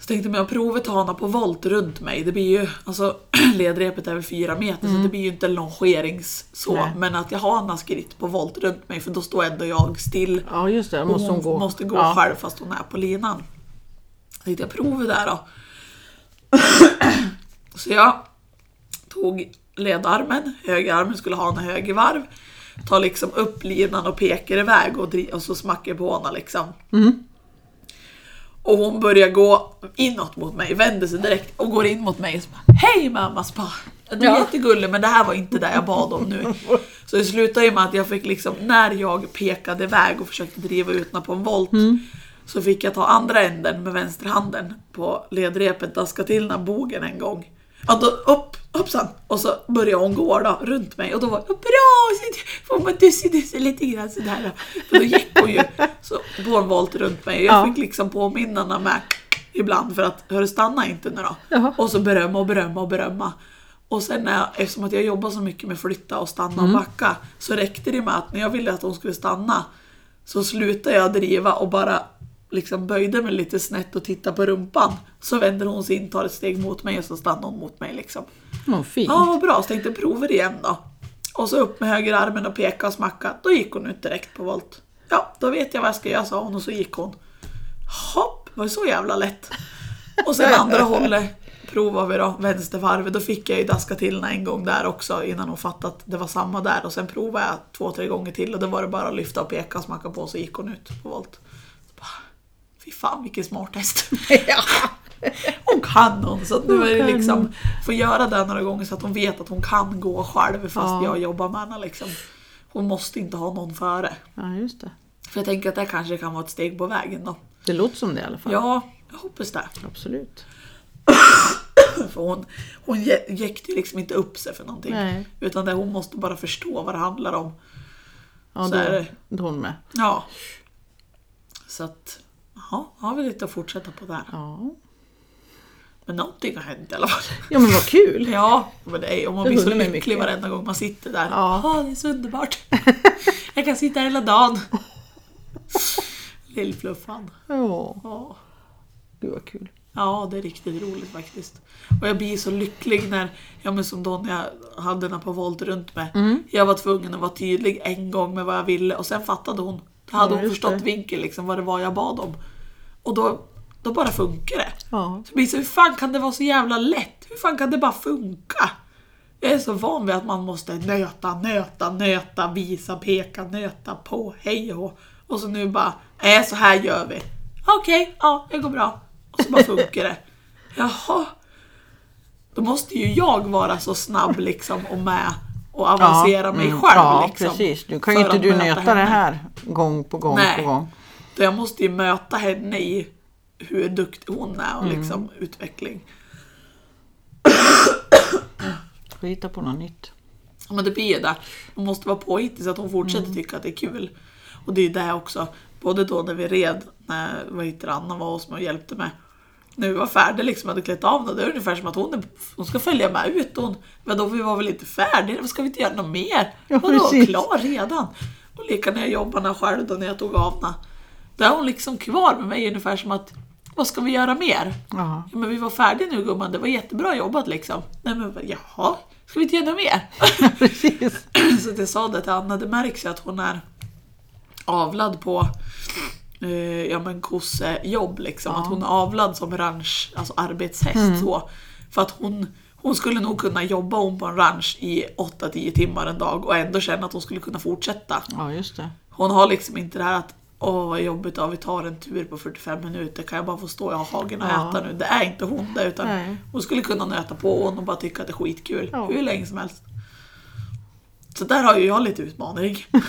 Speaker 1: Så tänkte jag, men jag provet har henne på volt runt mig. Det blir ju, alltså ledrepet är väl fyra meter så det blir ju inte en longerings så.
Speaker 2: Mm. Nej.
Speaker 1: Men att jag har henne skritt på volt runt mig för då står ändå jag still.
Speaker 2: Ja, just det. Då måste hon gå.
Speaker 1: måste gå
Speaker 2: ja.
Speaker 1: själv fast hon är på linan. Så tänkte jag prova där då. Så jag tog ledarmen, högerarmen skulle ha en högervarv. Tar liksom upp linan och pekar iväg och, dri- och så smackar jag på henne liksom.
Speaker 2: Mm.
Speaker 1: Och hon börjar gå inåt mot mig, vänder sig direkt och går in mot mig och så bara, Hej mamma! Så bara, du är
Speaker 2: Ja.
Speaker 1: jättegullig men det här var inte det jag bad om nu. Så det slutade ju med att jag fick liksom, när jag pekade iväg och försökte driva ut henne på en volt
Speaker 2: Mm.
Speaker 1: så fick jag ta andra änden med vänsterhanden på ledrepet, daska till den här bogen en gång. Ja, då upp, hoppsan! Och så började hon gå då, runt mig och då var jag bra! Får man dussidussa lite grann sådär då. För då gick hon ju så, på en volt runt mig. Jag
Speaker 2: Ja.
Speaker 1: fick liksom påminnarna med ibland för att hörru stanna inte nu då.
Speaker 2: Jaha.
Speaker 1: Och så berömma och berömma och berömma. Och sen när jag, eftersom att jag jobbar så mycket med flytta och stanna och backa så räckte det med att när jag ville att hon skulle stanna så slutade jag driva och bara liksom böjde mig lite snett och tittade på rumpan. Så vänder hon sig in, tar ett steg mot mig och så stannar hon mot mig liksom.
Speaker 2: Vad fint.
Speaker 1: Ja, vad bra. Så tänkte jag prova det igen då. Och så upp med höger armen och peka och smacka. Då gick hon ut direkt på volt. Ja, då vet jag vad jag ska göra, sa hon och så gick hon. Hopp, var det så jävla lätt? Och sen andra hållet provar vi då, vänstervarvet. Då fick jag ju daska till henne en gång där också innan hon fattade att det var samma där. Och sen provade jag två, tre gånger till och då var det bara att lyfta och peka, smacka på så gick hon ut på volt. Så bara, Fy fan vilken smart häst. Hon kan hon, så att nu
Speaker 2: Hon
Speaker 1: är det
Speaker 2: kan
Speaker 1: liksom, får göra det några gånger så att hon vet att hon kan gå själv fast
Speaker 2: Ja.
Speaker 1: jag jobbar med henne liksom. Hon måste inte ha någon före.
Speaker 2: Ja, just det.
Speaker 1: För jag tänker att det kanske kan vara ett steg på vägen då.
Speaker 2: Det låter som det i alla fall.
Speaker 1: Ja, jag hoppas det.
Speaker 2: Absolut.
Speaker 1: För hon, hon jä- jäkte ju liksom inte upp sig för någonting.
Speaker 2: Nej.
Speaker 1: Utan det, hon måste bara förstå vad det handlar om.
Speaker 2: Ja,
Speaker 1: Så
Speaker 2: då,
Speaker 1: är det.
Speaker 2: då är hon med.
Speaker 1: Ja. Så att, jaha, har vi lite att fortsätta på där.
Speaker 2: Ja.
Speaker 1: Men någonting har hänt i alla fall.
Speaker 2: ja, men vad kul!
Speaker 1: Ja, men det är, och man
Speaker 2: Det
Speaker 1: blir så
Speaker 2: håller mig
Speaker 1: lycklig
Speaker 2: mycket.
Speaker 1: varenda gång man sitter där.
Speaker 2: Ja.
Speaker 1: Åh, det är så underbart. Jag kan sitta här hela dagen. Lillfluffan.
Speaker 2: Ja,
Speaker 1: Ja.
Speaker 2: gud vad kul.
Speaker 1: Ja, det är riktigt roligt faktiskt. Och jag blir så lycklig när, ja men som Donja hade henne på volt runt mig.
Speaker 2: Mm.
Speaker 1: Jag var tvungen att vara tydlig en gång med vad jag ville och sen fattade hon. Då hade
Speaker 2: Ja,
Speaker 1: hon
Speaker 2: just
Speaker 1: förstått
Speaker 2: det.
Speaker 1: vinkeln liksom, vad det var jag bad om. Och då, då bara funkar det.
Speaker 2: Ja.
Speaker 1: Så jag blir så, hur fan kan det vara så jävla lätt? Hur fan kan det bara funka? Jag är så van vid att man måste nöta, nöta, nöta, visa, peka, nöta på, hej och hå. Och så nu bara, nej så här gör vi. Okej, ja det går bra. Och så bara funkar det. Jaha. Då måste ju jag vara så snabb liksom och med och avancera mig
Speaker 2: mm,
Speaker 1: själv.
Speaker 2: Ja,
Speaker 1: liksom,
Speaker 2: precis. Nu kan ju
Speaker 1: för
Speaker 2: inte
Speaker 1: att
Speaker 2: du
Speaker 1: möta
Speaker 2: nöta det
Speaker 1: henne.
Speaker 2: här gång på gång
Speaker 1: Nej.
Speaker 2: på gång.
Speaker 1: Så jag måste ju möta henne i hur duktig hon är och
Speaker 2: Mm.
Speaker 1: liksom utveckling.
Speaker 2: Får hitta på något nytt.
Speaker 1: Ja, Men det blir ju det. Hon måste vara påhittig så att hon fortsätter
Speaker 2: Mm.
Speaker 1: tycka att det är kul. Och det är ju det också. Både då när vi red, när vad heter det, Anna var hos mig och hjälpte mig. När vi var färdiga liksom hade klätt av henne, det är ungefär som att hon, är, hon ska följa med ut. Hon, men då vi var väl inte färdiga, ska vi inte göra något mer?
Speaker 2: Ja,
Speaker 1: Hon var
Speaker 2: precis.
Speaker 1: klar redan. Och lika när jag jobbade själv då när jag tog av henne. Då är hon liksom kvar med mig ungefär som att, vad ska vi göra mer?
Speaker 2: Ja.
Speaker 1: Ja, men vi var färdiga nu gumman, det var jättebra jobbat liksom. Nej men bara, jaha, ska vi inte göra något mer?
Speaker 2: Precis.
Speaker 1: Så att jag sa det till Anna, det märks ju att hon är avlad på eh, ja, men kossejobb. Liksom. Att hon är avlad som ranch, alltså arbetshäst. Så. För att hon, hon skulle nog kunna jobba om på en ranch i 8-10 timmar en dag och ändå känna att hon skulle kunna fortsätta.
Speaker 2: Ja, just det.
Speaker 1: Hon har liksom inte det här att Åh vad jobbigt, ja, vi tar en tur på 45 minuter, kan jag bara få stå i hagen och
Speaker 2: Ja.
Speaker 1: äta nu? Det är inte hon det, utan
Speaker 2: Nej.
Speaker 1: hon skulle kunna nöta på hon och bara tycka att det är skitkul
Speaker 2: Ja.
Speaker 1: hur länge som helst. Så där har ju jag lite utmaning.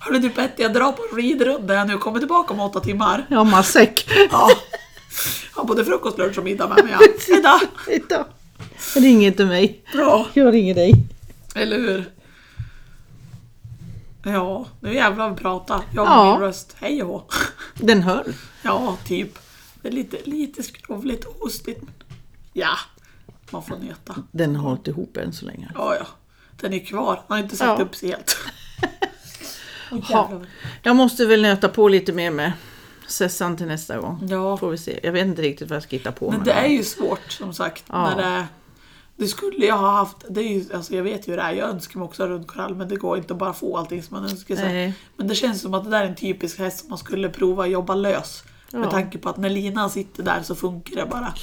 Speaker 1: Hörru du Betty, jag drar på en ridrunda jag nu, kommer tillbaka om åtta timmar.
Speaker 2: Ja, matsäck.
Speaker 1: Ja. Har både frukost, lunch och middag med mig. ja. Hejdå!
Speaker 2: Hejdå. Ring inte mig.
Speaker 1: Bra!
Speaker 2: Jag ringer dig.
Speaker 1: Eller hur? Ja, nu jävlar vi pratar. Jag och
Speaker 2: Ja.
Speaker 1: min röst, hej och hå.
Speaker 2: Den höll.
Speaker 1: Ja, typ. Det är lite, lite skrovligt och hostigt. men Ja, man får nöta.
Speaker 2: Den har hållit ihop än så länge.
Speaker 1: Ja, ja. Den är kvar. Den har inte satt
Speaker 2: Ja.
Speaker 1: upp sig helt. Åh,
Speaker 2: Ja.
Speaker 1: jävlar.
Speaker 2: Jag måste väl nöta på lite mer med Sessan till nästa gång.
Speaker 1: Ja.
Speaker 2: Får vi se. Jag vet inte riktigt vad jag ska hitta på.
Speaker 1: Men
Speaker 2: med
Speaker 1: det
Speaker 2: den.
Speaker 1: är ju svårt som sagt.
Speaker 2: Ja.
Speaker 1: När det, det skulle jag ha haft. Det är ju, alltså jag vet ju hur det är. Jag önskar mig också runt korall men det går inte att bara få allting som man önskar sig.
Speaker 2: Nej.
Speaker 1: Men det känns som att det där är en typisk häst som man skulle prova att jobba lös. Med
Speaker 2: Ja.
Speaker 1: tanke på att när linan sitter där så funkar det bara.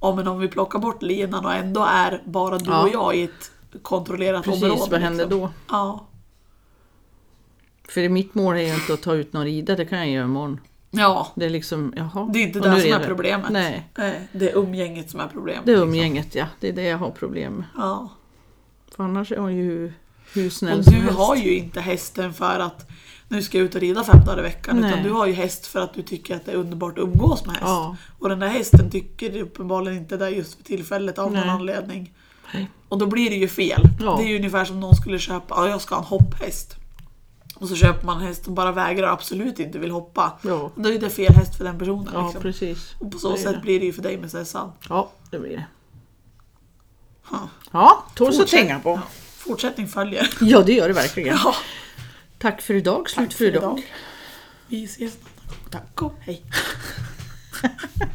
Speaker 1: Ja men om vi plockar bort linan och ändå är bara du
Speaker 2: Ja.
Speaker 1: och jag i ett kontrollerat
Speaker 2: Precis,
Speaker 1: område.
Speaker 2: vad händer
Speaker 1: liksom.
Speaker 2: då?
Speaker 1: Ja.
Speaker 2: För mitt mål är ju inte att ta ut någon rida, det kan jag göra imorgon.
Speaker 1: ja,
Speaker 2: Det är liksom, jaha.
Speaker 1: det är inte
Speaker 2: och
Speaker 1: det
Speaker 2: nu
Speaker 1: som är
Speaker 2: det-
Speaker 1: problemet.
Speaker 2: Nej,
Speaker 1: Nej, Det är umgänget som är problemet.
Speaker 2: det är um- umgänget ja. Det är det jag har problem med.
Speaker 1: Ja.
Speaker 2: För annars är hon ju hur- hur snäll
Speaker 1: Och
Speaker 2: som
Speaker 1: du
Speaker 2: helst.
Speaker 1: har ju inte hästen för att nu ska jag ut och rida fem dagar i veckan. Utan
Speaker 2: Nej.
Speaker 1: du har ju häst för att du tycker att det är underbart att umgås med häst.
Speaker 2: Ja.
Speaker 1: Och den där hästen tycker det uppenbarligen inte det just för tillfället av någon
Speaker 2: Nej.
Speaker 1: anledning.
Speaker 2: Nej.
Speaker 1: Och då blir det ju fel.
Speaker 2: Ja.
Speaker 1: Det är ju ungefär som någon skulle köpa, ja jag ska ha en hopphäst. Och så köper man en häst som bara vägrar och absolut inte vill hoppa.
Speaker 2: Ja.
Speaker 1: Då är ju det fel häst för den personen.
Speaker 2: Ja,
Speaker 1: liksom.
Speaker 2: precis.
Speaker 1: Och på så
Speaker 2: Det är
Speaker 1: sätt
Speaker 2: det.
Speaker 1: blir det ju för dig med Sessan.
Speaker 2: Ja, det blir det.
Speaker 1: Huh.
Speaker 2: Ja, tåls att
Speaker 1: Fortsätt.
Speaker 2: tänka på.
Speaker 1: Ja. Fortsättning följer.
Speaker 2: Ja, det gör det verkligen.
Speaker 1: Ja.
Speaker 2: Tack för idag. Slut för idag.
Speaker 1: Vi ses någon annan gång. Tack och hej.